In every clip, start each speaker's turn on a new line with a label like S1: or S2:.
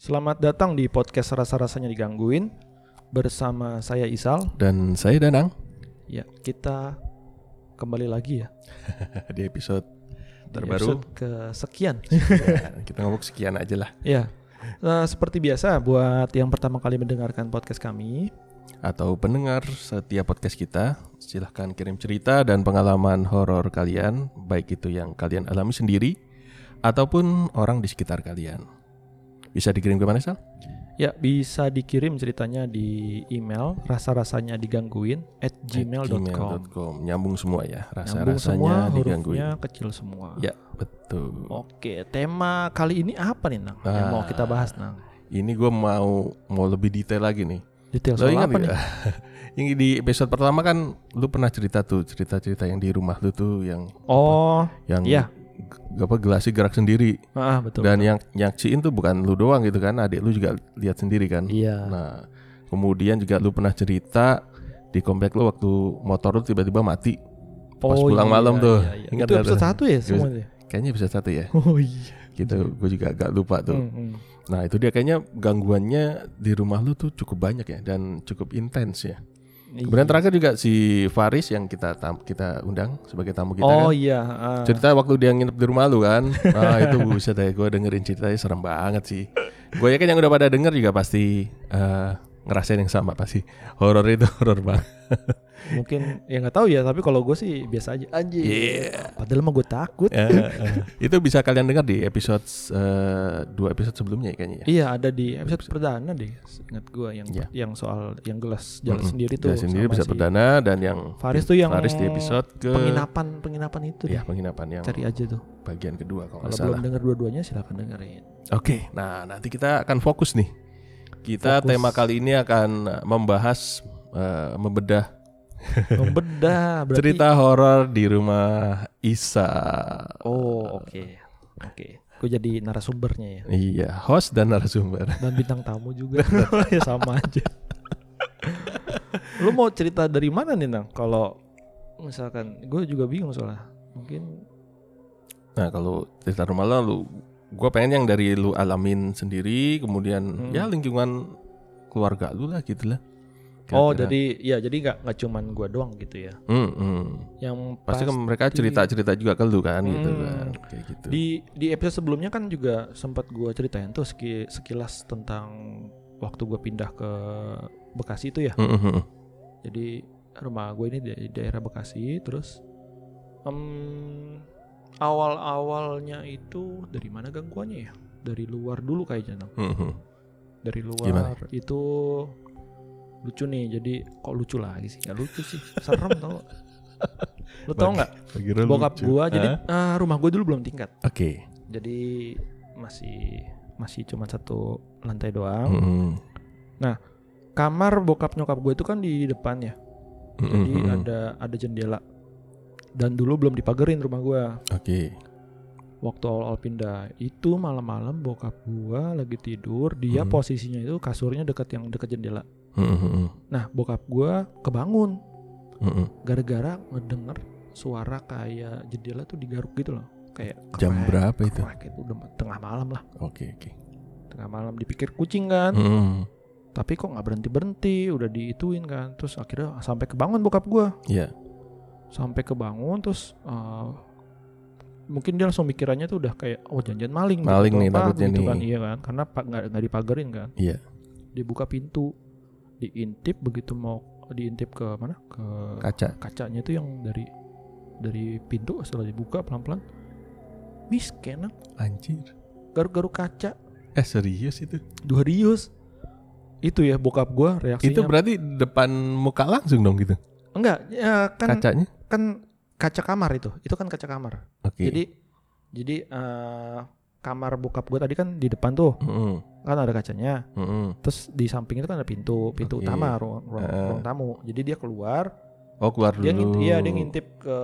S1: Selamat datang di podcast Rasa-Rasanya Digangguin Bersama saya Isal
S2: Dan saya Danang
S1: Ya, kita kembali lagi ya
S2: Nah, di episode
S1: di
S2: terbaru.
S1: episode kesekian
S2: Ya, kita ngomong sekian aja lah.
S1: Ya, Nah, seperti biasa buat yang pertama kali mendengarkan podcast kami
S2: Atau pendengar setiap podcast kita, silahkan kirim cerita dan pengalaman horor kalian, baik itu yang kalian alami sendiri ataupun orang di sekitar kalian. Bisa dikirim ke mana, Sal?
S1: Ya, bisa dikirim ceritanya di email Rasa-Rasanya Digangguin at gmail.com
S2: gmail.com. Nyambung semua ya,
S1: Nyambung semua,
S2: rasa-rasanya digangguin.
S1: hurufnya kecil semua
S2: Ya, betul.
S1: Oke, tema kali ini apa nih Nang? Yang
S2: Ah.
S1: mau kita bahas Nang?
S2: Ini gue mau mau lebih detail lagi nih.
S1: Detail
S2: Lo
S1: soal
S2: ingat
S1: apa nih?
S2: nggak? yang di episode pertama kan lu pernah cerita tuh cerita-cerita yang di rumah lu tuh yang
S1: Oh,
S2: yang
S1: Iya.
S2: g- apa gelasi gerak sendiri
S1: ah, betul
S2: dan yang nyaksiin tuh bukan lu doang gitu kan adik lu juga lihat sendiri kan
S1: Iya,
S2: nah kemudian juga lu pernah cerita di komplek lu waktu motor lu tiba-tiba mati pas
S1: Oh,
S2: pulang malam tuh.
S1: iya,
S2: Ingat
S1: Itu
S2: nggak
S1: episode
S2: tuh?
S1: satu ya semuanya.
S2: kayaknya bisa satu ya
S1: Oh iya. Hmm.
S2: gitu gue juga agak lupa tuh
S1: Mm-mm.
S2: nah itu dia kayaknya gangguannya di rumah lu tuh cukup banyak ya dan cukup intens ya kemudian
S1: Iya.
S2: terakhir juga si Faris yang kita tam- kita undang sebagai tamu kita kan
S1: Oh iya. ah.
S2: Cerita waktu dia nginep di rumah lu kan Nah itu buset ya Gue dengerin ceritanya serem banget sih Gue yakin yang udah pada denger juga pasti eh, Ngerasain yang sama pasti Horor itu horor banget
S1: Mungkin ya nggak tahu ya, tapi kalau gue sih biasa aja. Anjir.
S2: Iya.
S1: Padahal mah gue takut.
S2: Eh, eh.
S1: ya.
S2: Itu bisa kalian dengar di episode eh, Dua episode sebelumnya ya kayaknya ya
S1: Iya, ada di episode perdana deh. Ingat gue yang
S2: Iya.
S1: yang soal yang gelas jalan
S2: Mm-mm.
S1: sendiri tuh.
S2: Jalan sendiri
S1: sama
S2: episode
S1: si
S2: perdana Dan yang
S1: Faris tuh yang
S2: Faris di episode ke
S1: penginapan penginapan itu
S2: Ya
S1: deh.
S2: penginapan yang
S1: Cari aja tuh.
S2: bagian kedua
S1: Kalau
S2: kalau nggak
S1: belum
S2: salah
S1: denger dua-duanya silakan dengerin.
S2: Oke, nah nanti kita akan fokus nih. Kita
S1: Fokus.
S2: tema kali ini akan membahas eh, membedah
S1: Membedah berarti.
S2: cerita horor di rumah Isa.
S1: Oh, oke. Oke. Gue jadi narasumbernya ya.
S2: Iya, host dan narasumber.
S1: dan bintang tamu juga ya sama aja lu mau cerita dari mana nih nang kalau misalkan gue juga bingung soalnya mungkin
S2: Nah, kalau cerita rumah lo, lu gua pengen yang dari lu alamin sendiri, kemudian
S1: Hmm.
S2: ya lingkungan keluarga lu lah gitu lah.
S1: oh
S2: Kira-kira.
S1: jadi ya jadi nggak nggak cuman gue doang gitu ya
S2: Hmm, hmm.
S1: yang
S2: Pasti kan
S1: pas-
S2: mereka cerita-cerita juga ke lu kan gitu
S1: Hmm.
S2: kan. Kayak gitu.
S1: di di episode sebelumnya kan juga sempat gue ceritain tuh seki- sekilas tentang waktu gue pindah ke Bekasi itu ya
S2: Hmm, hmm, hmm.
S1: jadi rumah gue ini di daerah Bekasi terus em, awal-awalnya itu dari mana gangguannya ya dari luar dulu kayaknya Nang.
S2: Hmm, hmm.
S1: dari luar
S2: Gimana?
S1: itu lucu nih jadi kok lucu lagi sih nggak lucu sih serem tau lu tau nggak
S2: Gua kira
S1: bokap
S2: lucu.
S1: gue jadi
S2: Hah?
S1: eh, rumah gue dulu belum tingkat
S2: Oke.
S1: jadi masih masih cuma satu lantai doang
S2: Hmm,
S1: kamar bokap nyokap gue itu kan di depan ya
S2: hmm,
S1: jadi
S2: hmm, hmm.
S1: ada ada jendela dan dulu belum dipagerin rumah gua
S2: Oke.
S1: waktu awal-awal pindah itu malam-malam bokap gua lagi tidur dia
S2: Hmm.
S1: posisinya itu kasurnya dekat yang dekat jendela
S2: Hmm, hmm, hmm,
S1: nah bokap gua kebangun
S2: hmm, hmm.
S1: gara-gara ngedenger suara kayak jendela tuh digaruk gitu loh kayak
S2: Jam
S1: krek,
S2: berapa itu?
S1: krek, itu udah tengah malam lah
S2: Oke, oke.
S1: tengah malam dipikir kucing kan
S2: Hmm, hmm.
S1: tapi kok nggak berhenti berhenti udah diituin kan terus akhirnya sampai kebangun bokap gua
S2: Iya.
S1: sampai kebangun terus eh, mungkin dia langsung mikirannya tuh udah kayak oh janjian maling
S2: Maling
S1: begitu
S2: nih
S1: apa,
S2: takutnya
S1: begitu
S2: nih.
S1: kan iya kan karena pak nggak nggak dipagerin kan
S2: Iya.
S1: dibuka pintu diintip begitu mau diintip ke mana ke
S2: Kaca.
S1: kacanya itu yang dari dari pintu setelah dibuka pelan pelan miss kenang
S2: Anjir.
S1: garuk garuk kaca
S2: Eh serius itu?
S1: dua rius itu ya bokap gua reaksinya
S2: Itu berarti depan muka langsung dong gitu
S1: enggak ya kan
S2: kacanya.
S1: kan kaca kamar itu itu kan kaca kamar
S2: Oke.
S1: Jadi jadi eh, kamar bokap gue tadi kan di depan tuh
S2: Mm-mm,
S1: kan ada kacanya.
S2: mm-mm.
S1: Terus di samping itu kan ada pintu pintu
S2: Oke. Eh.
S1: utama ruang ruang,
S2: Heeh.
S1: ruang tamu. Jadi dia keluar,
S2: Oh keluar dulu.
S1: dia ngintip, iya dia ngintip ke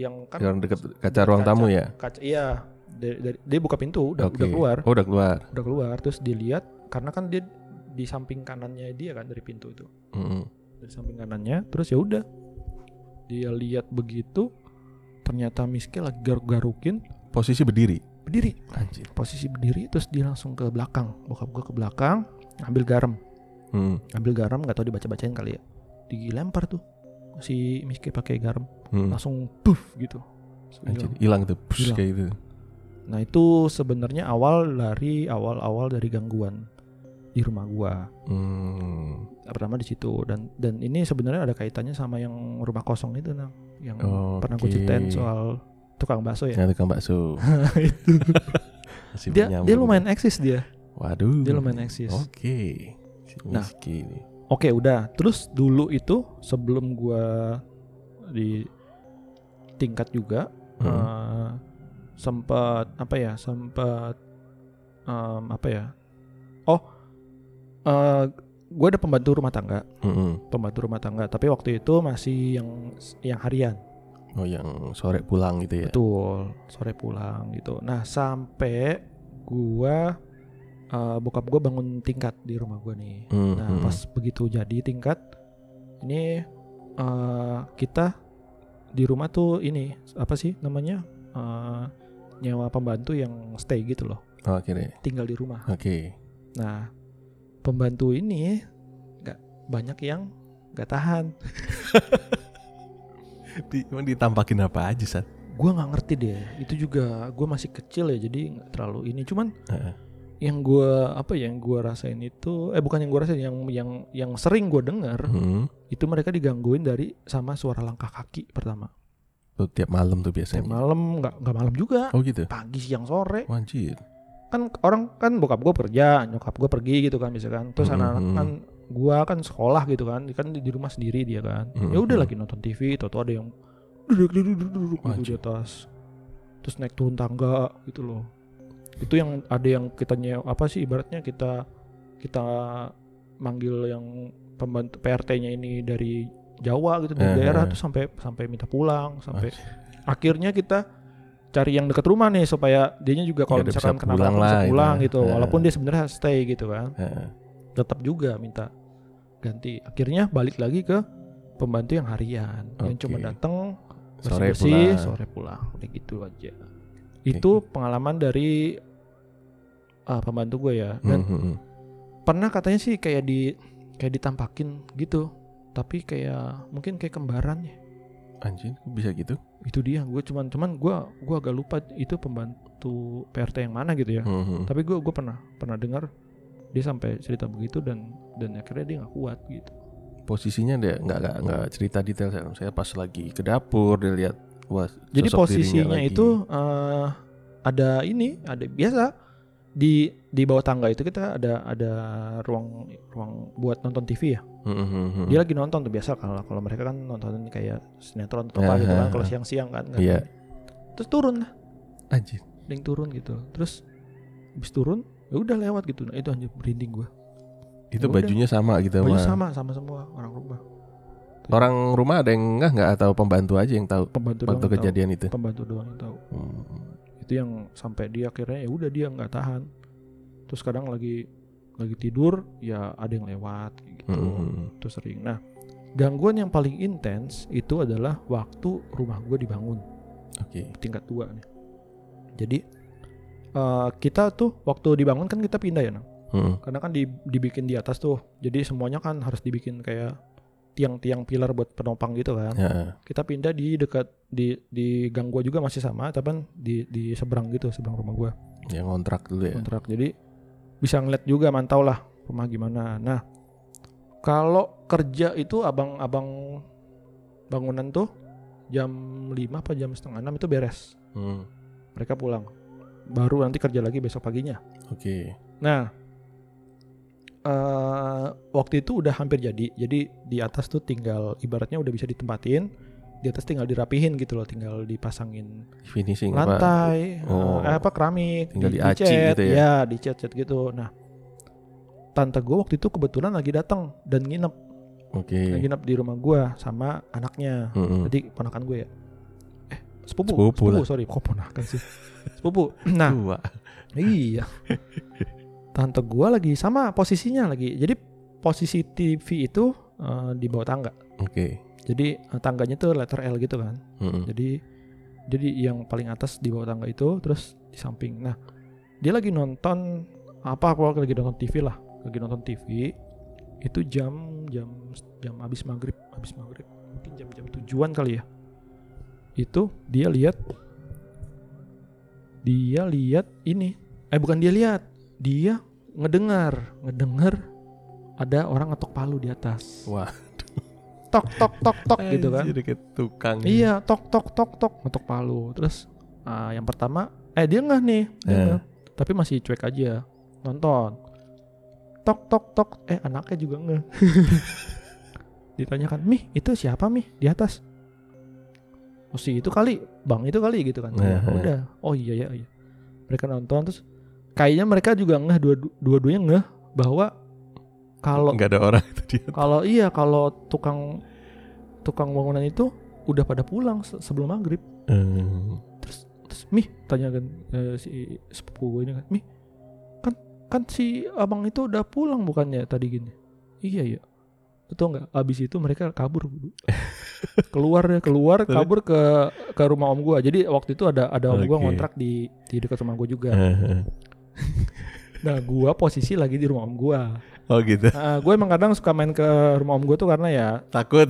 S1: yang kan
S2: Yang dekat kaca
S1: dekat
S2: ruang tamu ya.
S1: kaca iya dari, dari- dia buka pintu udah
S2: Oke.
S1: udah keluar
S2: Oh udah keluar.
S1: udah keluar terus dilihat karena kan dia di samping kanannya dia kan dari pintu itu
S2: Mm-mm.
S1: dari samping kanannya terus ya udah dia lihat begitu ternyata Miske lagi garuk-garukin
S2: Posisi berdiri.
S1: berdiri
S2: Anjir.
S1: posisi berdiri terus dia langsung ke belakang bokap gue ke belakang ambil garam
S2: Hmm.
S1: ambil garam nggak tahu dibaca bacain kali ya dilempar tuh si miskin pakai garam
S2: Hmm.
S1: langsung puff gitu Terus dia
S2: Anjir.
S1: bilang,
S2: Hilang tuh. Pus,
S1: Hilang.
S2: kayak gitu.
S1: nah itu sebenarnya awal dari awal awal dari gangguan di rumah gua
S2: Hmm.
S1: pertama di situ dan dan ini sebenarnya ada kaitannya sama yang rumah kosong itu nang yang
S2: Oke.
S1: pernah gue ceritain soal tukang bakso ya
S2: Nah, tukang bakso. Iya,
S1: itu
S2: Masih
S1: dia
S2: menyambung.
S1: dia lumayan eksis dia
S2: Waduh.
S1: dia lumayan eksis
S2: Oke. Si
S1: Nah.
S2: Miski ini.
S1: oke udah terus dulu itu sebelum gua di tingkat juga
S2: Hmm.
S1: eh, sempat apa ya sempat em, apa ya oh eh gue ada pembantu rumah tangga
S2: Mm, Mm-mm.
S1: pembantu rumah tangga tapi waktu itu masih yang yang harian
S2: Oh, yang sore pulang gitu ya.
S1: Betul, sore pulang gitu. Nah, sampai gua eh, bokap gua bangun tingkat di rumah gua nih.
S2: Hmm,
S1: Nah,
S2: hmm.
S1: pas begitu jadi tingkat ini eh, kita di rumah tuh ini apa sih namanya? Eh, nyewa pembantu yang stay gitu loh,
S2: Oh, akhirnya.
S1: tinggal di rumah.
S2: Oke.
S1: Nah, pembantu ini nggak banyak yang nggak tahan.
S2: Di- Emang ditampakin apa aja, Sat?
S1: Gua nggak ngerti deh. Itu juga gua masih kecil ya, jadi nggak terlalu ini. Cuman
S2: Heeh.
S1: yang gua apa ya, yang gua rasain itu eh bukan yang gua rasain yang yang yang sering gua dengar
S2: Hmm.
S1: itu mereka digangguin dari sama suara langkah kaki pertama
S2: Tuh, tiap malam tuh biasanya.
S1: tiap malam nggak nggak malam juga
S2: Oh gitu. Oh,
S1: pagi siang sore
S2: Wajir.
S1: kan orang kan bokap gua kerja nyokap gua pergi gitu kan biasanya kan terus
S2: Mhm.
S1: anak-anak kan gua kan sekolah gitu kan kan di di rumah sendiri dia kan
S2: Mhm.
S1: ya udah lagi nonton TV atau ada yang duduk duduk duduk duduk gitu di
S2: Anjir.
S1: atas terus naik turun tangga gitu loh itu yang ada yang kita nyewa apa sih ibaratnya kita kita manggil yang pembantu PRT-nya ini dari Jawa gitu dari
S2: Eh,
S1: daerah
S2: eh.
S1: tuh sampai sampai minta pulang sampai akhirnya kita cari yang dekat rumah nih supaya dianya juga kalau
S2: Ya, dia
S1: misalkan
S2: bisa
S1: kenapa
S2: pulang
S1: pulang, bisa
S2: lah, gitu
S1: pulang
S2: ya.
S1: gitu
S2: Heeh.
S1: walaupun dia sebenarnya stay gitu kan
S2: Heeh.
S1: tetap juga minta ganti akhirnya balik lagi ke pembantu yang harian yang
S2: Oke.
S1: cuma datang
S2: Sore
S1: bersih-bersih,
S2: pulang.
S1: sore pulang udah gitu aja itu pengalaman dari ah, pembantu gue ya dan
S2: Mhm, mhm.
S1: pernah katanya sih kayak di kayak ditampakin gitu tapi kayak mungkin kayak kembaran ya
S2: Anjir, kok bisa gitu?
S1: itu dia gue cuman cuman gue gua agak lupa itu pembantu PRT yang mana gitu ya
S2: Mhm.
S1: tapi gue gue pernah pernah dengar dia sampai cerita begitu dan dan akhirnya dia nggak kuat gitu
S2: Posisinya dia nggak nggak nggak cerita detail saya. Saya pas lagi ke dapur dia lihat wah.
S1: jadi
S2: sosok dirinya
S1: posisinya
S2: lagi.
S1: itu eh, ada ini ada biasa di di bawah tangga itu kita ada ada ruang ruang buat nonton TV ya
S2: Mhm, mhm.
S1: dia lagi nonton tuh biasa kalau kalau mereka kan nonton kayak sinetron atau apa gitu kan
S2: Aha.
S1: kalau siang-siang kan kan.
S2: Iya.
S1: terus turun lah
S2: Anjir.
S1: ada yang turun gitu terus habis turun ya udah lewat gitu nah itu hanya merinding gue
S2: Itu
S1: Ya udah.
S2: bajunya sama gitu
S1: baju
S2: sama-
S1: sama sama semua orang rumah
S2: Orang rumah ada yang nggak nggak atau pembantu aja yang tahu
S1: pembantu doang
S2: waktu
S1: yang tahu.
S2: kejadian itu.
S1: pembantu doang yang tahu
S2: Hmm.
S1: itu yang sampai dia akhirnya ya udah dia nggak tahan terus kadang lagi lagi tidur ya ada yang lewat kayak gitu
S2: Mhm.
S1: itu sering nah gangguan yang paling intens itu adalah waktu rumah gue dibangun
S2: Oke.
S1: tingkat dua nih jadi eh, kita tuh waktu dibangun kan kita pindah ya Nang.
S2: Mhm.
S1: karena kan di- dibikin di atas tuh jadi semuanya kan harus dibikin kayak tiang-tiang pilar buat penopang gitu kan
S2: Ya.
S1: kita pindah di dekat di di gang gua juga masih sama tapi kan di di seberang gitu seberang rumah gua
S2: Yang kontrak dulu ya.
S1: kontrak jadi bisa ngeliat juga mantau lah rumah gimana nah kalau kerja itu abang-abang bangunan tuh jam 5 apa jam setengah 6 itu beres
S2: Hmm.
S1: mereka pulang baru nanti kerja lagi besok paginya
S2: Oke.
S1: Nah, eh waktu itu udah hampir jadi. Jadi di atas tuh tinggal ibaratnya udah bisa ditempatin. Di atas tinggal dirapihin gitu loh, tinggal dipasangin
S2: Finishing apa?
S1: lantai,
S2: Oh.
S1: eh, apa keramik,
S2: Tinggal
S1: di-
S2: diaci
S1: dicat,
S2: gitu ya?
S1: dicat-cat gitu. Nah, tante gue waktu itu kebetulan lagi datang dan nginep, lagi
S2: Oke.
S1: nginep di rumah gue sama anaknya.
S2: Mhm.
S1: Jadi ponakan gue ya. Eh, sepupu,
S2: Sepupu lah.
S1: sorry, kok ponakan sih? sepupu. Nah,
S2: Tua.
S1: Iya. Tante gua lagi sama posisinya lagi. Jadi posisi TV itu eh, di bawah tangga.
S2: Oke.
S1: Jadi eh, tangganya tuh letter L gitu kan.
S2: Mhm.
S1: Jadi jadi yang paling atas di bawah tangga itu terus di samping nah dia lagi nonton apa aku lagi nonton TV lah lagi nonton TV itu jam jam jam habis maghrib habis maghrib mungkin jam jam tujuan kali ya itu dia lihat dia lihat ini eh bukan dia lihat dia ngedengar ngedengar ada orang ngetok palu di atas
S2: Wah.
S1: tok tok tok tok gitu kan
S2: Anjir, kayak tukang.
S1: Iya, tok tok tok tok ngetok palu. Terus ah, yang pertama, eh dia nggak nih, dia
S2: Eh.
S1: nggak. tapi masih cuek aja nonton. Tok tok tok, eh anaknya juga nggak. Ditanyakan, mih itu siapa mih di atas? Oh si itu kali, bang itu kali gitu kan. Ya,
S2: Eh, eh.
S1: Udah, oh iya iya iya. Mereka nonton terus, kayaknya mereka juga ngeh dua- dua-duanya ngeh bahwa kalau
S2: Nggak ada orang itu dia.
S1: kalau iya kalau tukang tukang bangunan itu udah pada pulang se- sebelum maghrib.
S2: Eh,
S1: Terus terus mih tanya kan eh, si sepupu gue ini kan, mih kan kan si abang itu udah pulang bukannya tadi gini? Iya iya. Betul nggak? Abis itu mereka kabur Bu. keluar ya keluar
S2: Terus?
S1: kabur ke ke rumah om gue. Jadi waktu itu ada ada om gue
S2: Oke.
S1: ngontrak di di dekat rumah gue juga.
S2: eh, eh.
S1: Nah gue posisi lagi di rumah om gue.
S2: Oh gitu.
S1: Nah, gue emang kadang suka main ke rumah om gue tuh karena ya
S2: Takut.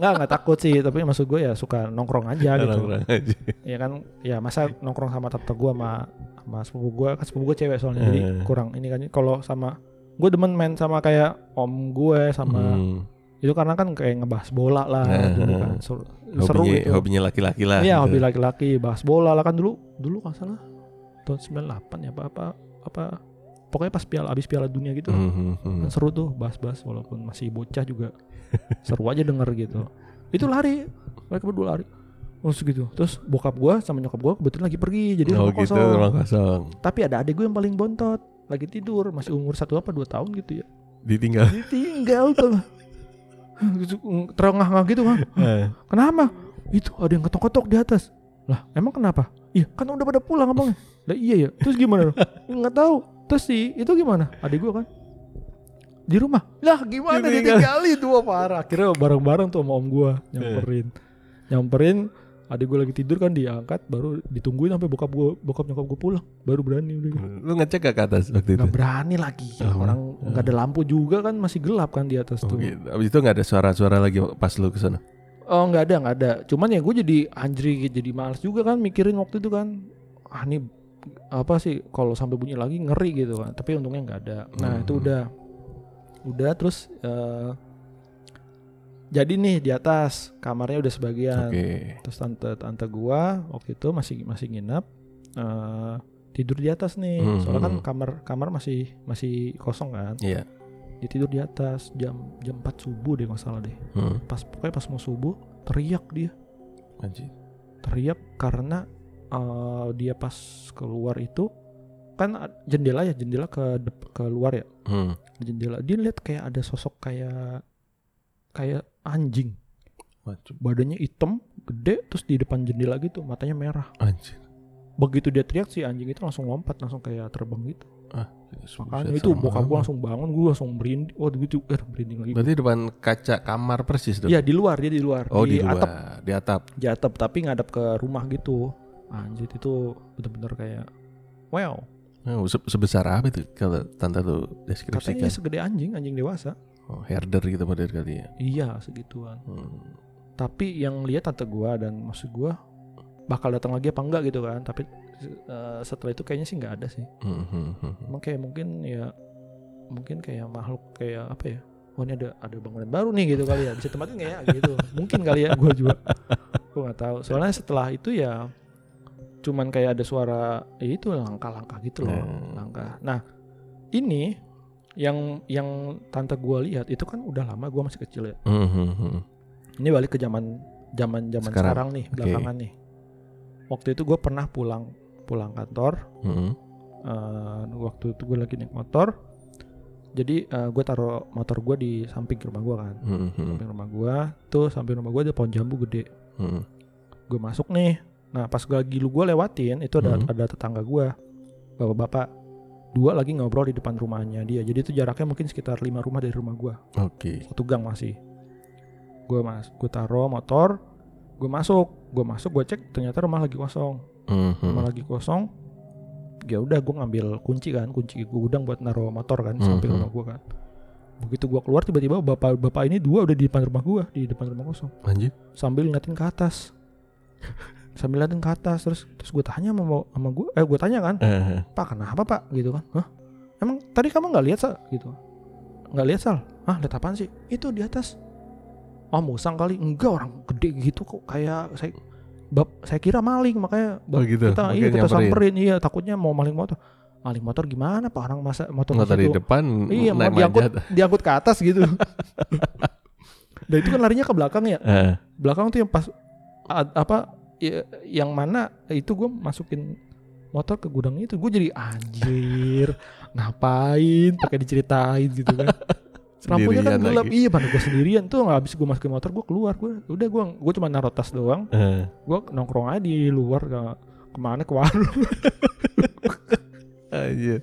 S1: Nggak, nggak takut sih, tapi maksud gue ya suka nongkrong aja gitu.
S2: Orang-orang aja.
S1: Ya kan, ya masa nongkrong sama tante gue sama sama sepupu gue, kan sepupu gue cewek soalnya jadi
S2: Eh.
S1: kurang ini kan kalau sama gue demen main sama kayak om gue sama
S2: Hmm.
S1: itu karena kan kayak ngebahas bola lah
S2: Eh,
S1: dulu
S2: eh.
S1: kan seru, seru
S2: Hobinya,
S1: gitu.
S2: hobinya laki-laki lah.
S1: Iya,
S2: gitu.
S1: hobi laki-laki, bahas bola lah kan dulu dulu kan salah tahun 98 ya apa apa apa pokoknya pas piala abis piala dunia gitu
S2: Hmm, hmm, hmm.
S1: kan seru tuh bahas-bahas walaupun masih bocah juga seru aja denger gitu itu lari mereka berdua lari terus gitu terus bokap gua sama nyokap gua kebetulan lagi pergi jadi
S2: oh
S1: rumah
S2: gitu,
S1: kosong
S2: ruang kosong.
S1: tapi ada adik gue yang paling bontot lagi tidur masih umur satu apa dua tahun gitu ya
S2: Ditinggal.
S1: ditinggal tuh Gitu, terengah-engah gitu kan
S2: Eh,
S1: kenapa itu ada yang ketok-ketok di atas lah emang kenapa iya kan udah pada pulang abangnya lah iya ya terus gimana dong nggak tahu terus si itu gimana adik gua kan di rumah lah gimana
S2: Ditinggal.
S1: ditinggalin dua parah Iya. akhirnya bareng-bareng tuh sama om gua nyamperin nyamperin adik gua lagi tidur kan diangkat baru ditungguin sampai bokap gua bokap nyokap gua pulang baru berani udah Iya. gua.
S2: Lu ngecek gak ke atas waktu itu?
S1: nggak berani lagi
S2: Oh,
S1: orang nggak ada lampu juga kan masih gelap kan di atas
S2: Oh,
S1: tuh
S2: gitu. Abis itu gak ada suara-suara lagi pas lu kesana?
S1: Oh nggak ada nggak ada. Cuman ya gue jadi anjri jadi males juga kan mikirin waktu itu kan. Ah ini apa sih kalau sampai bunyi lagi ngeri gitu kan. Tapi untungnya nggak ada. Nah itu
S2: Hmm.
S1: udah udah terus eh, jadi nih di atas kamarnya udah sebagian.
S2: Oke.
S1: Terus tante tante gua waktu itu masih masih nginep eh, tidur di atas nih.
S2: Hmm,
S1: Soalnya kan
S2: hmm.
S1: kamar kamar masih masih kosong kan.
S2: Iya.
S1: Dia tidur di atas jam jam 4 subuh deh nggak salah deh.
S2: Hmm.
S1: Pas pokoknya pas mau subuh teriak dia
S2: Anjir.
S1: teriak karena eh, dia pas keluar itu kan a- jendela ya jendela ke dep- ke luar ya
S2: Hmm.
S1: jendela dia lihat kayak ada sosok kayak kayak anjing
S2: Waduh,
S1: badannya hitam gede terus di depan jendela gitu matanya merah
S2: Anjir.
S1: begitu dia teriak si anjing itu langsung lompat langsung kayak terbang gitu makanya
S2: Buset,
S1: itu
S2: serem
S1: bokap
S2: banget.
S1: gua langsung bangun gua langsung merinding oh gitu eh merinding lagi
S2: Berarti depan kaca kamar persis dong?
S1: Iya di luar dia di luar
S2: Oh di, luar.
S1: atap
S2: Di atap.
S1: di atap tapi ngadap ke rumah gitu anjir itu bener-bener kayak wow
S2: Oh, se- sebesar apa itu kalau tante lu
S1: Katanya
S2: deskripsikan?
S1: segede anjing, anjing dewasa.
S2: Oh, herder gitu pada kali ya.
S1: Iya, segituan.
S2: Hmm.
S1: Tapi yang lihat tante gua dan maksud gua bakal datang lagi apa enggak gitu kan. Tapi eh, setelah itu kayaknya sih nggak ada sih.
S2: Hmm, hmm, hmm.
S1: Emang kayak mungkin ya mungkin kayak makhluk kayak apa ya? Oh ini ada ada bangunan baru nih gitu kali ya. Bisa tempatin nggak ya gitu. Mungkin kali ya gua juga. Gua nggak tahu. Soalnya setelah itu ya cuman kayak ada suara ya itu langkah-langkah gitu loh.
S2: Hmm.
S1: langkah. Nah, ini yang yang tante gua lihat itu kan udah lama gua masih kecil ya.
S2: Hmm, hmm, hmm.
S1: Ini balik ke zaman zaman zaman
S2: Sekarang.
S1: sekarang, nih, belakangan nih. Waktu itu gua pernah pulang pulang kantor,
S2: Hmm.
S1: eh, waktu itu gue lagi naik motor. Jadi eh, gua gue taruh motor gua di samping rumah gua kan.
S2: Hmm, hmm,
S1: Samping rumah gua, tuh samping rumah gua ada pohon jambu gede.
S2: hmm.
S1: Gue masuk nih. Nah, pas gua lagi lu gua lewatin, itu ada
S2: Hmm.
S1: ada tetangga gua. Bapak-bapak dua lagi ngobrol di depan rumahnya dia. Jadi itu jaraknya mungkin sekitar lima rumah dari rumah gua.
S2: Oke.
S1: satu gang masih gue mas gue taruh motor gue gue masuk gue masuk gue cek ternyata rumah lagi kosong
S2: Mhm.
S1: rumah lagi kosong ya udah gue ngambil kunci kan kunci gudang buat naruh motor kan di samping
S2: Mhm.
S1: rumah gue kan begitu gue keluar tiba-tiba bapak bapak ini dua udah di depan rumah gue di depan rumah kosong
S2: Anjir.
S1: sambil ngeliatin ke atas sambil ngeliatin ke atas terus terus gue tanya sama sama gue eh gue tanya kan
S2: Eh,
S1: pak kenapa pak gitu kan Hah? emang tadi kamu nggak lihat sal gitu nggak lihat sal ah lihat apaan sih itu di atas oh musang kali enggak orang gede gitu kok kayak saya bab saya kira maling makanya
S2: Oh
S1: bab-
S2: gitu.
S1: kita
S2: Oke,
S1: iya kita
S2: nyamperin.
S1: samperin iya takutnya mau maling motor maling motor gimana pak orang masa motor
S2: Nggak
S1: di
S2: tadi
S1: situ?
S2: depan
S1: iya mau
S2: naik
S1: diangkut
S2: manjat.
S1: diangkut ke atas gitu dan itu kan larinya ke belakang ya
S2: Eh,
S1: belakang tuh yang pas a- apa ya, yang mana itu gue masukin motor ke gudang itu gue jadi anjir ngapain pakai diceritain gitu kan lampunya kan
S2: sendirian
S1: gelap
S2: lagi.
S1: iya pada gue sendirian tuh nggak habis gue masukin motor gue keluar gue udah gue gue cuma naruh tas doang
S2: Eh,
S1: gue nongkrong aja di luar ke- kemana ke warung
S2: anjir.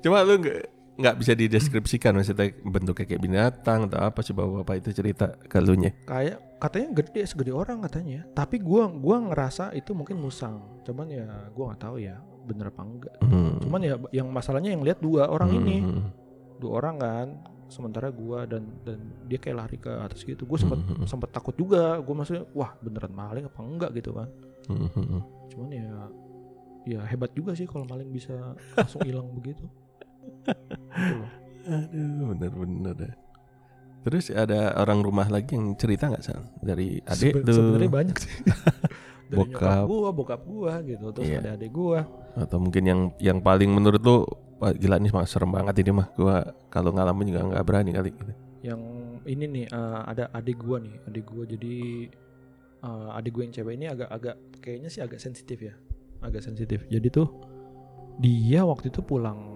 S2: Cuma lu nggak nggak bisa dideskripsikan maksudnya bentuknya kayak binatang atau apa sih bapak-bapak itu cerita ke lu nya.
S1: kayak katanya gede segede orang katanya ya. tapi gue gua ngerasa itu mungkin musang cuman ya gue nggak tahu ya bener apa enggak
S2: Hmm.
S1: cuman ya yang masalahnya yang lihat dua orang ini
S2: Hmm.
S1: dua orang kan sementara gua dan dan dia kayak lari ke atas gitu gue sempet
S2: Mhm.
S1: sempet takut juga gue maksudnya wah beneran maling apa enggak gitu kan
S2: Hmm, hmm, hmm.
S1: cuman ya ya hebat juga sih kalau maling bisa langsung hilang begitu Gitu loh.
S2: Aduh, bener-bener dah. Terus ada orang rumah lagi yang cerita nggak sal dari
S1: Seben-
S2: adik tuh
S1: sebenarnya banyak sih dari nyokap
S2: Bokap.
S1: gua bokap gua gitu terus
S2: Iya.
S1: ada adik gua
S2: atau mungkin yang yang paling menurut lu wah gila nih mah serem banget ini mah gua kalau ngalamin juga nggak berani kali gitu.
S1: yang ini nih eh, ada adik gua nih adik gua jadi eh, adik gua yang cewek ini agak agak kayaknya sih agak sensitif ya agak sensitif jadi tuh dia waktu itu pulang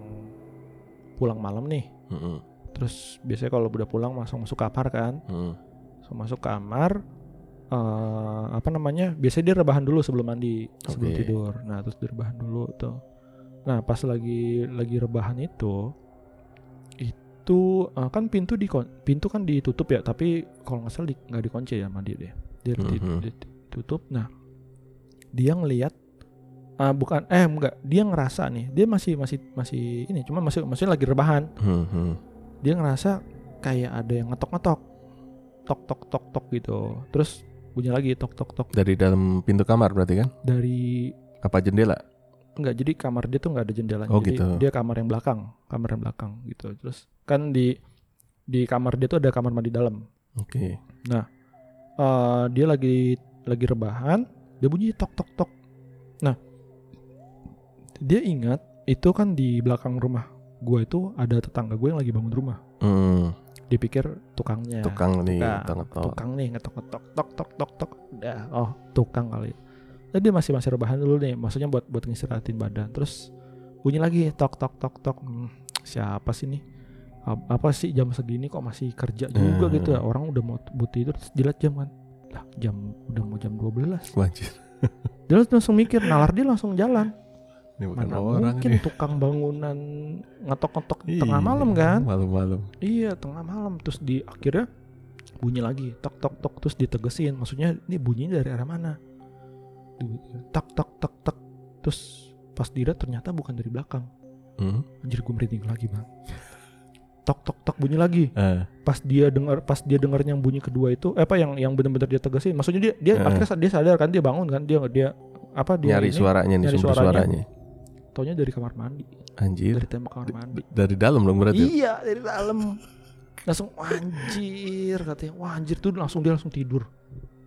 S1: pulang malam nih
S2: Mm-mm,
S1: terus biasanya kalau udah pulang langsung masuk kamar kan
S2: mm.
S1: langsung masuk kamar eh apa namanya biasanya dia rebahan dulu sebelum mandi sebelum
S2: Oke.
S1: tidur nah terus dia rebahan dulu tuh nah pas lagi lagi rebahan itu itu eh, kan pintu di pintu kan ditutup ya tapi kalau nggak salah di- nggak dikunci ya mandi dia dia di-
S2: Mhm.
S1: di- ditutup nah dia ngelihat ah, bukan eh enggak dia ngerasa nih dia masih masih masih ini cuma masih masih lagi rebahan
S2: Hmm, hmm.
S1: dia ngerasa kayak ada yang ngetok-ngetok tok tok tok tok gitu terus bunyi lagi tok tok tok
S2: Dari dalam pintu kamar berarti kan?
S1: dari
S2: Apa jendela?
S1: enggak jadi kamar dia tuh nggak ada jendelanya
S2: Oh,
S1: jadi
S2: gitu.
S1: dia kamar yang belakang kamar yang belakang gitu terus kan di di kamar dia tuh ada kamar mandi dalam
S2: Oke.
S1: Eh, dia lagi lagi rebahan dia bunyi tok tok tok nah dia ingat itu kan di belakang rumah gua itu ada tetangga gue yang lagi bangun rumah
S2: Hmm,
S1: dia pikir tukangnya
S2: tukang nih,
S1: Ya, tukang.
S2: tukang ngetok.
S1: tukang nih ngetok ngetok tok tok tok tok udah oh tukang kali jadi dia masih masih rebahan dulu nih maksudnya buat buat ngistirahatin badan terus bunyi lagi tok tok tok tok Hmm, siapa sih nih Ap- apa sih jam segini kok masih kerja juga
S2: Hmm.
S1: gitu ya orang udah mau butuh tidur terus dilihat jam kan lah jam udah mau jam 12
S2: Wah, anjir.
S1: dia langsung mikir nalar dia langsung jalan
S2: Ini bukan
S1: mana
S2: orang
S1: mungkin
S2: nih.
S1: tukang bangunan ngetok-ngetok
S2: Iya,
S1: tengah malam kan
S2: Malam-malam.
S1: Iya tengah malam terus di akhirnya bunyi lagi tok tok tok terus ditegesin maksudnya ini bunyinya dari arah mana Di- tak tak tak tak terus pas dilihat ternyata bukan dari belakang
S2: Hmm.
S1: anjir gue merinding lagi bang tok tok tok bunyi lagi
S2: Eh,
S1: pas dia dengar pas dia dengar yang bunyi kedua itu eh, apa yang yang benar-benar dia tegesin maksudnya dia dia
S2: Eh.
S1: akhirnya sa- dia sadar kan dia bangun kan dia dia apa dia
S2: nyari
S1: ini,
S2: suaranya nih,
S1: nyari
S2: sumber suaranya.
S1: suaranya. taunya dari kamar mandi
S2: Anjir.
S1: dari tembok kamar mandi
S2: Dari dalam dong berarti.
S1: Iya dari dalam. Langsung "Wah, anjir katanya. Wah anjir tuh langsung dia langsung tidur.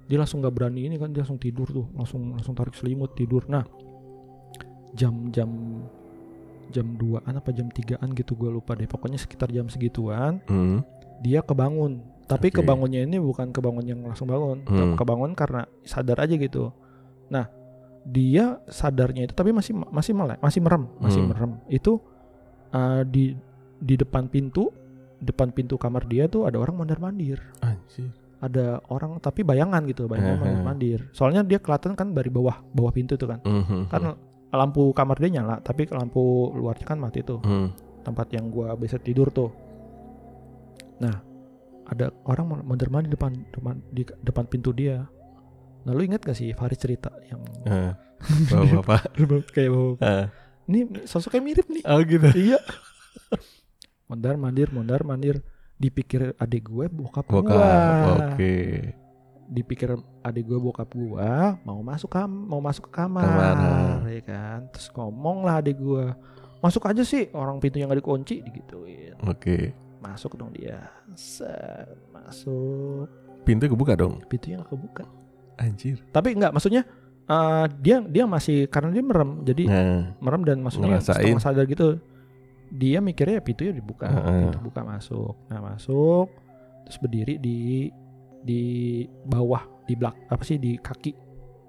S1: Dia langsung nggak berani ini kan dia langsung tidur tuh. Langsung langsung tarik selimut tidur. Nah jam-jam jam 2-an apa jam 3-an gitu gue lupa deh. Pokoknya sekitar jam segituan
S2: Hmm.
S1: dia kebangun. Tapi
S2: Oke.
S1: kebangunnya ini bukan kebangun yang langsung bangun.
S2: Hmm.
S1: Kebangun karena sadar aja gitu. Nah, dia sadarnya itu tapi masih masih melek, masih merem, masih
S2: Hmm.
S1: merem. Itu uh, di di depan pintu, depan pintu kamar dia tuh ada orang mondar-mandir.
S2: Anjir.
S1: Ada orang tapi bayangan gitu, bayangan
S2: Aha.
S1: mondar-mandir. Soalnya dia kelihatan kan dari bawah, bawah pintu tuh kan.
S2: Mhm.
S1: Kan lampu kamar dia nyala, tapi lampu luarnya kan mati tuh
S2: Hmm.
S1: tempat yang gua biasa tidur tuh. Nah, ada orang mondar mandir depan depan di depan pintu dia. Nah lu inget gak sih Faris cerita yang
S2: Eh, bapak-bapak.
S1: kayak bahwa
S2: Eh,
S1: ini sosoknya mirip nih.
S2: oh gitu.
S1: iya. Mondar mandir, mondar mandir. Dipikir adik gue bokap,
S2: Bokap.
S1: gua.
S2: Oke.
S1: Dipikir adik gue bokap gua mau masuk kam mau masuk ke kamar,
S2: Kamar,
S1: ya kan. Terus ngomong lah adik gue masuk aja sih orang pintunya nggak dikunci digituin
S2: Oke.
S1: masuk dong dia Set, masuk
S2: Pintu kebuka dong.
S1: pintunya nggak kebuka
S2: Anjir.
S1: tapi nggak maksudnya eh, dia dia masih karena dia merem jadi
S2: Nah,
S1: merem dan maksudnya
S2: Ngerasain.
S1: setengah sadar gitu dia mikirnya ya pintunya dibuka
S2: Heeh.
S1: pintu buka masuk nah masuk terus berdiri di di bawah di belak apa sih di kaki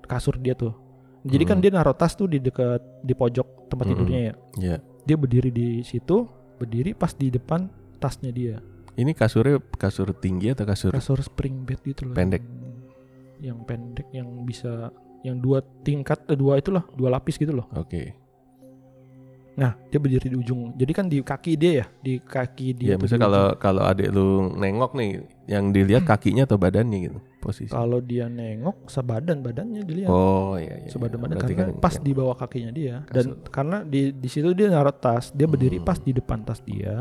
S1: kasur dia tuh jadi kan
S2: Mm.
S1: dia naruh tas tuh di dekat di pojok tempat
S2: Mm-mm.
S1: tidurnya ya
S2: ya.
S1: dia berdiri di situ berdiri pas di depan tasnya dia
S2: Ini kasurnya kasur tinggi atau kasur?
S1: kasur spring bed gitu loh
S2: Pendek.
S1: yang, yang pendek yang bisa yang dua tingkat eh, dua itulah dua lapis gitu loh
S2: Oke.
S1: Nah, dia berdiri di ujung. Jadi kan di kaki dia ya, di kaki dia.
S2: Ya,
S1: tuh
S2: misalnya
S1: di
S2: kalau
S1: ujung.
S2: kalau adik lu nengok nih, yang dilihat kakinya atau badannya gitu, posisi.
S1: kalau dia nengok sebadan badannya dilihat.
S2: Oh, iya iya.
S1: sebadan
S2: iya.
S1: badan
S2: Berarti
S1: karena
S2: kan-
S1: pas di bawah kakinya dia dan
S2: Kasut.
S1: karena di di situ dia naruh tas, dia berdiri
S2: Hmm.
S1: pas di depan tas dia.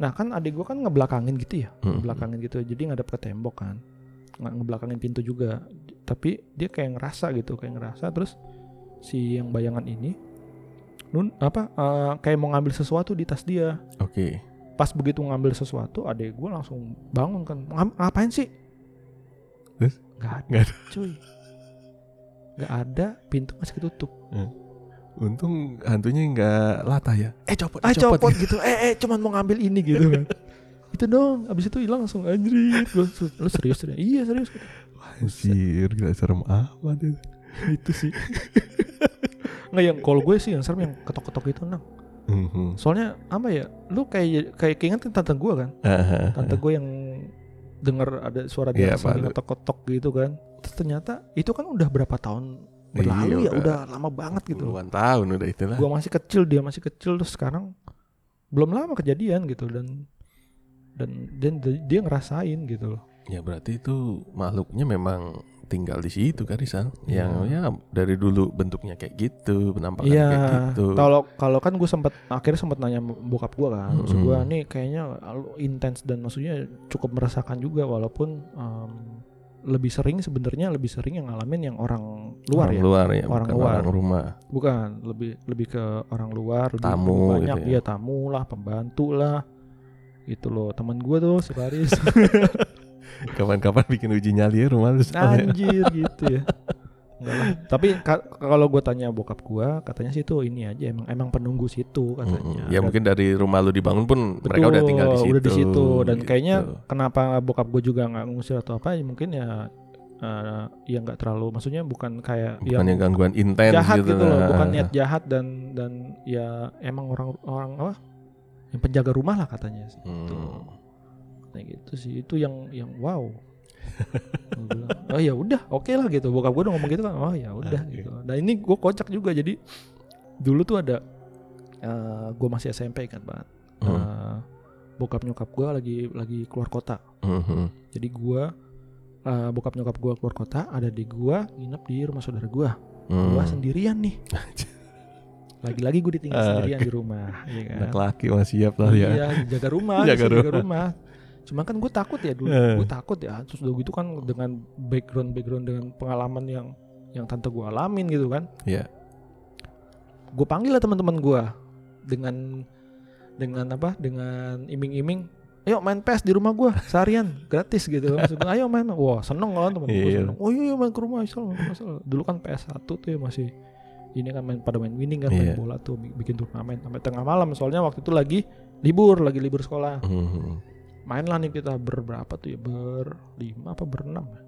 S1: Nah, kan adik gua kan ngebelakangin gitu ya,
S2: Mm-mm.
S1: ngebelakangin gitu. Jadi ngadep ke tembok kan. Nggak ngebelakangin pintu juga. Tapi dia kayak ngerasa gitu, kayak ngerasa terus si yang bayangan ini nun apa eh, kayak mau ngambil sesuatu di tas dia.
S2: Oke.
S1: pas begitu ngambil sesuatu adek gue langsung bangun kan "Ngam- ngapain sih
S2: Terus?
S1: nggak ada,
S2: Nggak
S1: cuy nggak ada pintu masih ketutup
S2: Untung hantunya nggak latah ya. Eh copot,
S1: ah copot gitu eh eh cuman mau ngambil ini gitu kan itu dong abis itu hilang langsung anjrit gue lu serius serius iya serius
S2: Anjir, gila serem amat itu.
S1: itu sih nggak yang kalau gue sih yang serem yang ketok-ketok itu nang
S2: Mhm.
S1: soalnya apa ya lu kayak kayak keingetan tante gue kan
S2: Aha.
S1: tante gue yang dengar ada suara
S2: Iya,
S1: dia sambil
S2: Pak.
S1: ngetok-ketok gitu kan terus ternyata itu kan udah berapa tahun berlalu ya
S2: Iya, udah.
S1: udah lama banget gitu loh
S2: Puluhan tahun udah itulah.
S1: gue masih kecil dia masih kecil terus sekarang belum lama kejadian gitu dan dan dan dia- dia ngerasain gitu loh
S2: Ya berarti itu makhluknya memang tinggal di situ kan Rizal.
S1: Iya.
S2: Yang ya dari dulu bentuknya kayak gitu, penampakan kayak
S1: iya
S2: gitu.
S1: kalau kalau kan gue sempat akhirnya sempat nanya bokap gue kan maksud gue
S2: Mm-mm.
S1: nih kayaknya lu intens dan maksudnya cukup meresahkan juga walaupun em, lebih sering sebenarnya lebih sering yang ngalamin yang orang luar
S2: orang
S1: ya
S2: luar ya,
S1: Orang
S2: bukan
S1: luar.
S2: orang rumah.
S1: Bukan, lebih lebih ke orang luar, lebih
S2: Tamu
S1: banyak
S2: gitu ya.
S1: ya. tamu lah, pembantu lah. Itu loh, temen gue tuh si Faris.
S2: Kapan-kapan bikin uji nyali ya
S1: Nah,
S2: rumah lu. Sal, ya.
S1: Anjir gitu ya. Enggak lah. Tapi ka- kalau gue tanya bokap gue, katanya sih itu ini aja emang emang penunggu situ katanya.
S2: Mm-mm. Ya mungkin dari rumah lu dibangun pun
S1: Betul,
S2: mereka udah tinggal di situ.
S1: udah di situ dan
S2: gitu.
S1: kayaknya kenapa bokap gue juga nggak ngusir atau apa ya mungkin ya eh, ya nggak terlalu maksudnya bukan kayak ya
S2: bukan yang gangguan intens
S1: jahat gitu, loh,
S2: nah.
S1: bukan niat jahat dan dan ya emang orang orang apa? Yang penjaga rumah lah katanya sih. Gitu.
S2: Hmm.
S1: Kayak gitu sih. Itu yang yang wow. Gua bilang, oh ya udah, oke lah gitu. Bokap gue udah ngomong gitu kan. Oh ya udah
S2: Oke.
S1: gitu. Nah, ini gue kocak juga. Jadi dulu tuh ada eh gue masih SMP kan, Pak. Eh,
S2: Hmm.
S1: bokap nyokap gue lagi lagi keluar kota.
S2: Mhm.
S1: Jadi gue eh bokap nyokap gue keluar kota, ada di gua nginep di rumah saudara gue
S2: Hmm.
S1: gua sendirian nih lagi-lagi gue ditinggal
S2: Ah,
S1: sendirian
S2: oke.
S1: di rumah ya kan
S2: Anak laki masih siap lah ya.
S1: iya jaga rumah
S2: Jaga
S1: jaga,
S2: rumah.
S1: jaga rumah cuma kan gue takut ya dulu
S2: Eh.
S1: gue takut ya terus udah gitu kan dengan background background dengan pengalaman yang yang tante gue alamin gitu kan
S2: Iya.
S1: gue panggil lah teman-teman gue dengan dengan apa dengan iming-iming ayo main PES di rumah gue seharian gratis gitu Maksud gua, ayo main wah seneng kan temen gue
S2: Iya.
S1: seneng oh iya, iya, main ke rumah Isal, main ke rumah, Isal." dulu kan PS 1 tuh ya masih ini kan main pada main winning kan
S2: Iya.
S1: main bola tuh bi- bikin turnamen sampai tengah malam soalnya waktu itu lagi libur lagi libur sekolah
S2: Mhm.
S1: mainlah nih kita berberapa tuh ya berlima apa berenam ya.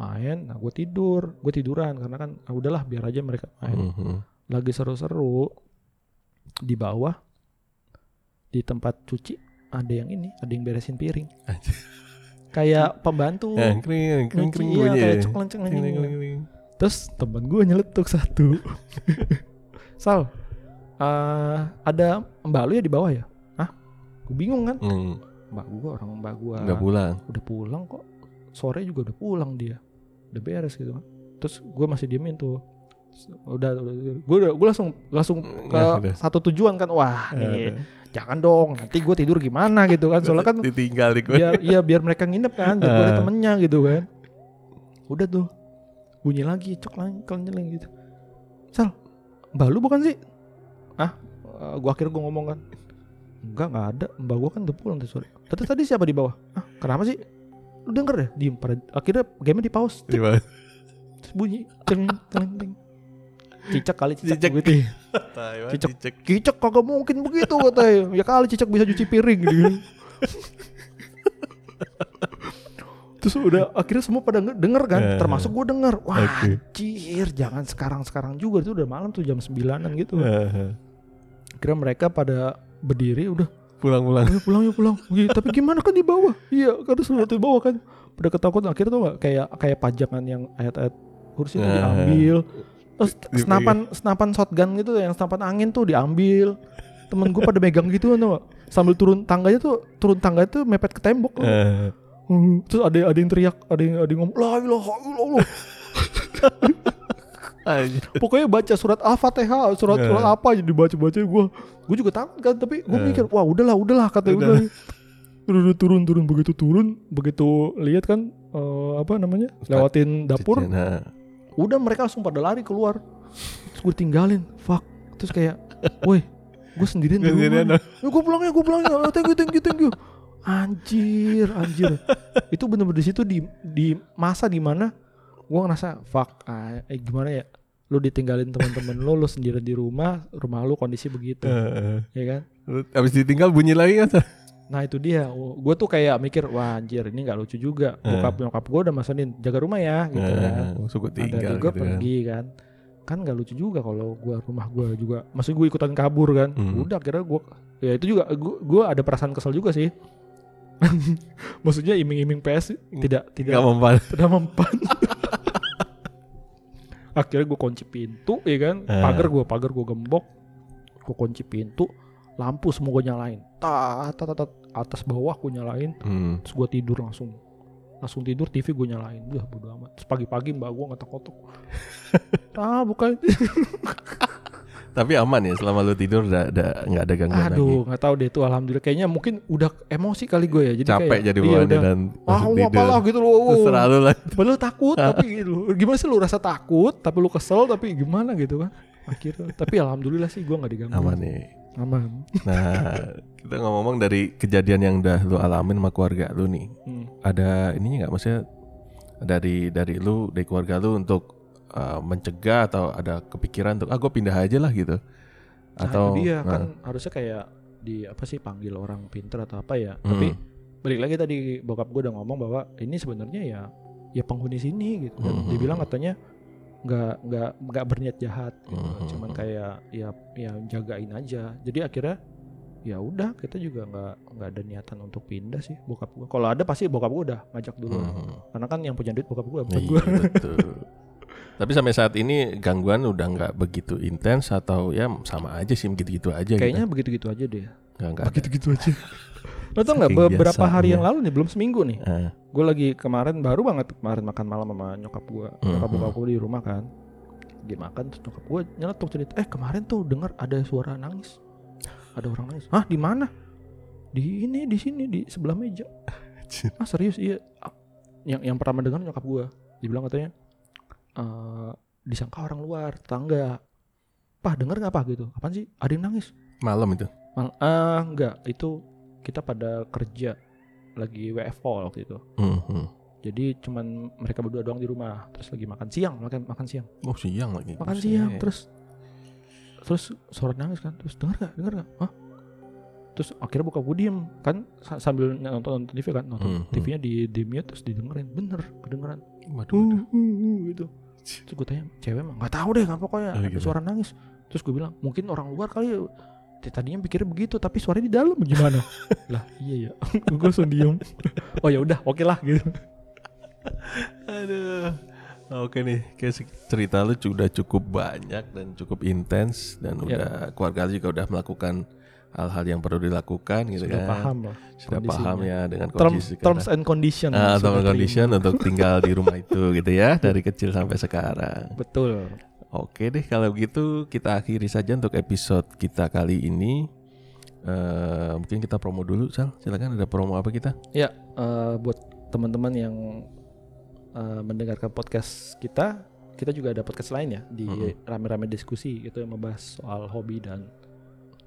S1: main nah gue tidur gue tiduran karena kan ah, udahlah biar aja mereka main
S2: Mhm.
S1: lagi seru-seru di bawah di tempat cuci ada yang ini ada yang beresin piring
S2: Anjir.
S1: kayak pembantu
S2: Nah, kering, kering,
S1: Nyuci,
S2: kering
S1: iya,
S2: bunyi.
S1: kayak
S2: ya.
S1: cekleng cekleng
S2: Kering,
S1: gitu.
S2: kering, kering.
S1: terus temen gue nyeletuk satu sal eh, ada mbak lu ya di bawah ya ah gue bingung kan
S2: Hmm,
S1: mbak gue orang mbak gue
S2: Nggak pulang.
S1: udah pulang kok sore juga udah pulang dia udah beres gitu terus gue masih diemin tuh Terus udah gue udah gue langsung langsung ke
S2: Ya, udah.
S1: satu tujuan kan wah
S2: Ya,
S1: nih jangan dong nanti gue tidur gimana gitu kan soalnya kan
S2: ditinggal di gue.
S1: biar iya biar mereka nginep kan biar gua ada
S2: Ah.
S1: temennya gitu kan udah tuh bunyi lagi cok lang kelenceleng gitu sal mbak lu bukan sih ah Eh, gua akhirnya gua ngomong kan enggak nggak ada mbak gua kan udah pulang tadi sore tadi tadi siapa di bawah ah kenapa sih lu denger deh diem pada akhirnya game di pause
S2: Di bawah.
S1: terus bunyi ceng ceng ceng cicak kali cicak,
S2: Cicak.
S1: begitu
S2: Taiwan,
S1: Cicak.
S2: cicak.
S1: Cicak kagak mungkin begitu katanya. Ya kali cicak bisa cuci piring gitu. Terus udah akhirnya semua pada nge- denger kan,
S2: Eh.
S1: termasuk gue denger. Wah,
S2: Oke.
S1: anjir, jangan sekarang-sekarang juga itu udah malam tuh jam 9-an gitu.
S2: Heeh.
S1: Akhirnya mereka pada berdiri udah,
S2: Pulang-pulang.
S1: ayo pulang yuk pulang. Iya, tapi gimana kan di bawah? Iya, kan sudah di bawah kan. Udah ketakutan akhirnya tuh nggak, kayak kayak pajangan yang ayat-ayat kursi itu
S2: Eh.
S1: diambil. Terus
S2: Dipegang.
S1: senapan senapan shotgun gitu yang senapan angin tuh diambil. Temen gue pada megang gitu kan tau nggak? Sambil turun tangganya tuh turun tangga itu mepet ke tembok. tau
S2: Oh.
S1: nggak?
S2: Heeh.
S1: Hmm, Terus ada ada yang teriak, ada yang ada yang ngomong, "La ilaha illallah."
S2: Anjir.
S1: Pokoknya baca surat Al-Fatihah, surat surat
S2: Eh.
S1: apa aja dibaca-baca gue. Gue juga takut kan, tapi gue
S2: Eh.
S1: mikir, "Wah, udahlah, udahlah," kata
S2: Udah.
S1: udah. Turun, turun, turun begitu turun, begitu lihat kan eh, apa namanya? lewatin dapur,
S2: Cicak, nah.
S1: udah mereka langsung pada lari keluar terus gue tinggalin fuck terus kayak woi gue sendirian di
S2: Gua sendirian,
S1: rumah gue pulang ya gue pulang ya Oh, thank you thank you thank you anjir anjir itu bener-bener di situ di di masa dimana gue ngerasa fuck ah, eh, gimana ya lu ditinggalin teman-teman lu lu sendirian di rumah rumah lu kondisi begitu
S2: Heeh.
S1: ya kan
S2: Terus Abis ditinggal bunyi lagi kan?
S1: nah itu dia gue tuh kayak mikir wah anjir ini nggak lucu juga
S2: Eh.
S1: bokap nyokap gue udah masanin jaga rumah ya gitu kan
S2: Heeh. Maksud Nah, gua
S1: ada
S2: tinggal
S1: juga
S2: gitu kan.
S1: pergi kan kan nggak lucu juga kalau gua rumah gua juga maksud gue ikutan kabur kan
S2: Hmm.
S1: udah kira gua ya itu juga gua, gua ada perasaan kesel juga sih maksudnya iming-iming PS tidak
S2: Gak
S1: tidak
S2: mempan.
S1: tidak mempan akhirnya gua kunci pintu ya kan
S2: Eh.
S1: pagar gua pagar gua gembok gua kunci pintu lampu semua gua nyalain tat tat tat, tat. atas bawah gua nyalain
S2: Hmm.
S1: terus gue tidur langsung langsung tidur TV gue nyalain udah bodo amat terus pagi-pagi mbak gue ngetok-ngetok ah bukan
S2: Tapi aman ya selama lu tidur udah- udah nggak ada gangguan lagi.
S1: aduh nggak tahu deh itu alhamdulillah kayaknya mungkin udah emosi kali gue ya jadi
S2: Capek
S1: kayak,
S2: jadi
S1: iya,
S2: bawaannya
S1: udah,
S2: dan
S1: ah
S2: langsung
S1: wah, apalah gitu loh
S2: Terus selalu lah.
S1: padahal takut
S2: Ah.
S1: tapi gitu loh. gimana sih lu rasa takut tapi lu kesel tapi gimana gitu kan akhirnya tapi alhamdulillah sih gue nggak diganggu
S2: Aman nih.
S1: aman
S2: Nah, kita ngomong dari kejadian yang udah lu alamin sama keluarga lu nih.
S1: Hmm.
S2: Ada ininya nggak maksudnya dari dari lu dari keluarga lu untuk eh, mencegah atau ada kepikiran untuk ah gue pindah aja lah gitu.
S1: nah,
S2: Atau
S1: itu dia kan
S2: nah,
S1: harusnya kayak di apa sih panggil orang pinter atau apa ya
S2: hmm,
S1: tapi balik lagi tadi bokap gue udah ngomong bahwa ini sebenarnya ya ya penghuni sini gitu dan
S2: Mhm.
S1: dibilang katanya nggak nggak nggak berniat jahat gitu.
S2: Mhm.
S1: cuman kayak ya ya jagain aja jadi akhirnya ya udah kita juga nggak nggak ada niatan untuk pindah sih bokap gue kalau ada pasti bokap gue udah ngajak dulu
S2: hmm.
S1: karena kan yang punya duit bokap gue bukan
S2: Iya
S1: gue
S2: betul. Tapi sampai saat ini gangguan udah nggak begitu intens atau ya sama aja sih gitu-gitu aja
S1: kayaknya begitu gitu aja deh
S2: gitu. Nggak- nggak ada.
S1: begitu gitu aja lo tau nggak
S2: Saking
S1: beberapa hari
S2: biasanya.
S1: yang lalu nih belum seminggu nih
S2: Ah,
S1: gue lagi kemarin baru banget kemarin makan malam sama nyokap gue nyokap
S2: Mhm.
S1: bokap gue di rumah kan dia makan terus nyokap gue nyeletuk cerita eh kemarin tuh dengar ada suara nangis ada orang nangis hah di mana di ini di sini di sebelah meja
S2: Anjir.
S1: ah serius iya Ah, yang yang pertama dengar nyokap gue dibilang katanya eh disangka orang luar tetangga pah dengar nggak pah gitu apaan sih ada yang nangis
S2: malam itu.
S1: Mal ah enggak itu kita pada kerja lagi WFO waktu itu
S2: Hmm, hmm.
S1: jadi cuman mereka berdua doang di rumah terus lagi makan siang makan makan siang
S2: Oh siang lagi. Eh,
S1: makan
S2: Buset.
S1: siang terus terus suara nangis kan terus dengar gak dengar gak Hah? terus akhirnya buka gue diem kan sa- sambil nonton nonton TV kan nonton
S2: Hmm, hmm.
S1: TV-nya di di mute terus didengerin bener kedengeran
S2: Waduh, waduh.
S1: uh, uh, uh, gitu terus gue tanya cewek mah nggak tahu deh nggak pokoknya
S2: Oh,
S1: ada
S2: gitu.
S1: suara nangis terus gue bilang mungkin orang luar kali ya." Dia tadinya pikirnya begitu tapi suaranya di dalam gimana lah iya ya gue langsung diem oh ya udah oke lah gitu
S2: Aduh. Oke nih, kayak se- cerita lu sudah cukup banyak dan cukup intens dan
S1: Ya.
S2: udah keluarga lu juga udah melakukan hal-hal yang perlu dilakukan gitu
S1: sudah
S2: kan.
S1: paham lah
S2: Sudah
S1: kondisinya.
S2: paham ya dengan
S1: terms
S2: kondisi sekarang.
S1: terms and condition
S2: Ah, term
S1: sudah
S2: and
S1: terima.
S2: condition untuk tinggal di rumah itu gitu ya dari kecil sampai sekarang.
S1: betul
S2: Oke deh kalau gitu kita akhiri saja untuk episode kita kali ini. Eh, mungkin kita promo dulu Sal. Silakan ada promo apa kita?
S1: ya eh, buat teman-teman yang eh, mendengarkan podcast kita kita juga ada podcast lain ya di
S2: Mm-mm.
S1: rame-rame diskusi itu yang membahas soal hobi dan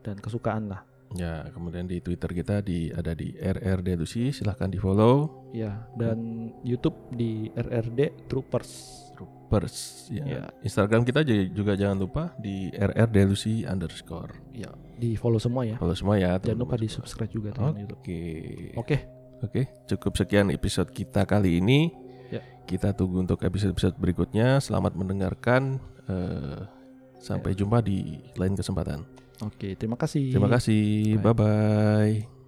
S1: dan kesukaan lah
S2: Ya, kemudian di Twitter kita di ada di RRD Lucy, silahkan di follow.
S1: ya dan YouTube di RRD Troopers
S2: Troopers. Ya.
S1: Ya.
S2: Instagram kita ju- juga jangan lupa di RRD Lucy underscore.
S1: ya di follow semua ya
S2: Follow semua ya.
S1: jangan lupa
S2: teman-teman.
S1: di subscribe juga tuh
S2: Oke.
S1: yang YouTube oke
S2: Oke, cukup sekian episode kita kali ini.
S1: Ya.
S2: Kita tunggu untuk episode-episode berikutnya. Selamat mendengarkan. Eh,
S1: Ya.
S2: sampai jumpa di lain kesempatan.
S1: oke terima kasih
S2: Terima kasih.
S1: Iya. Bye.
S2: Bye bye.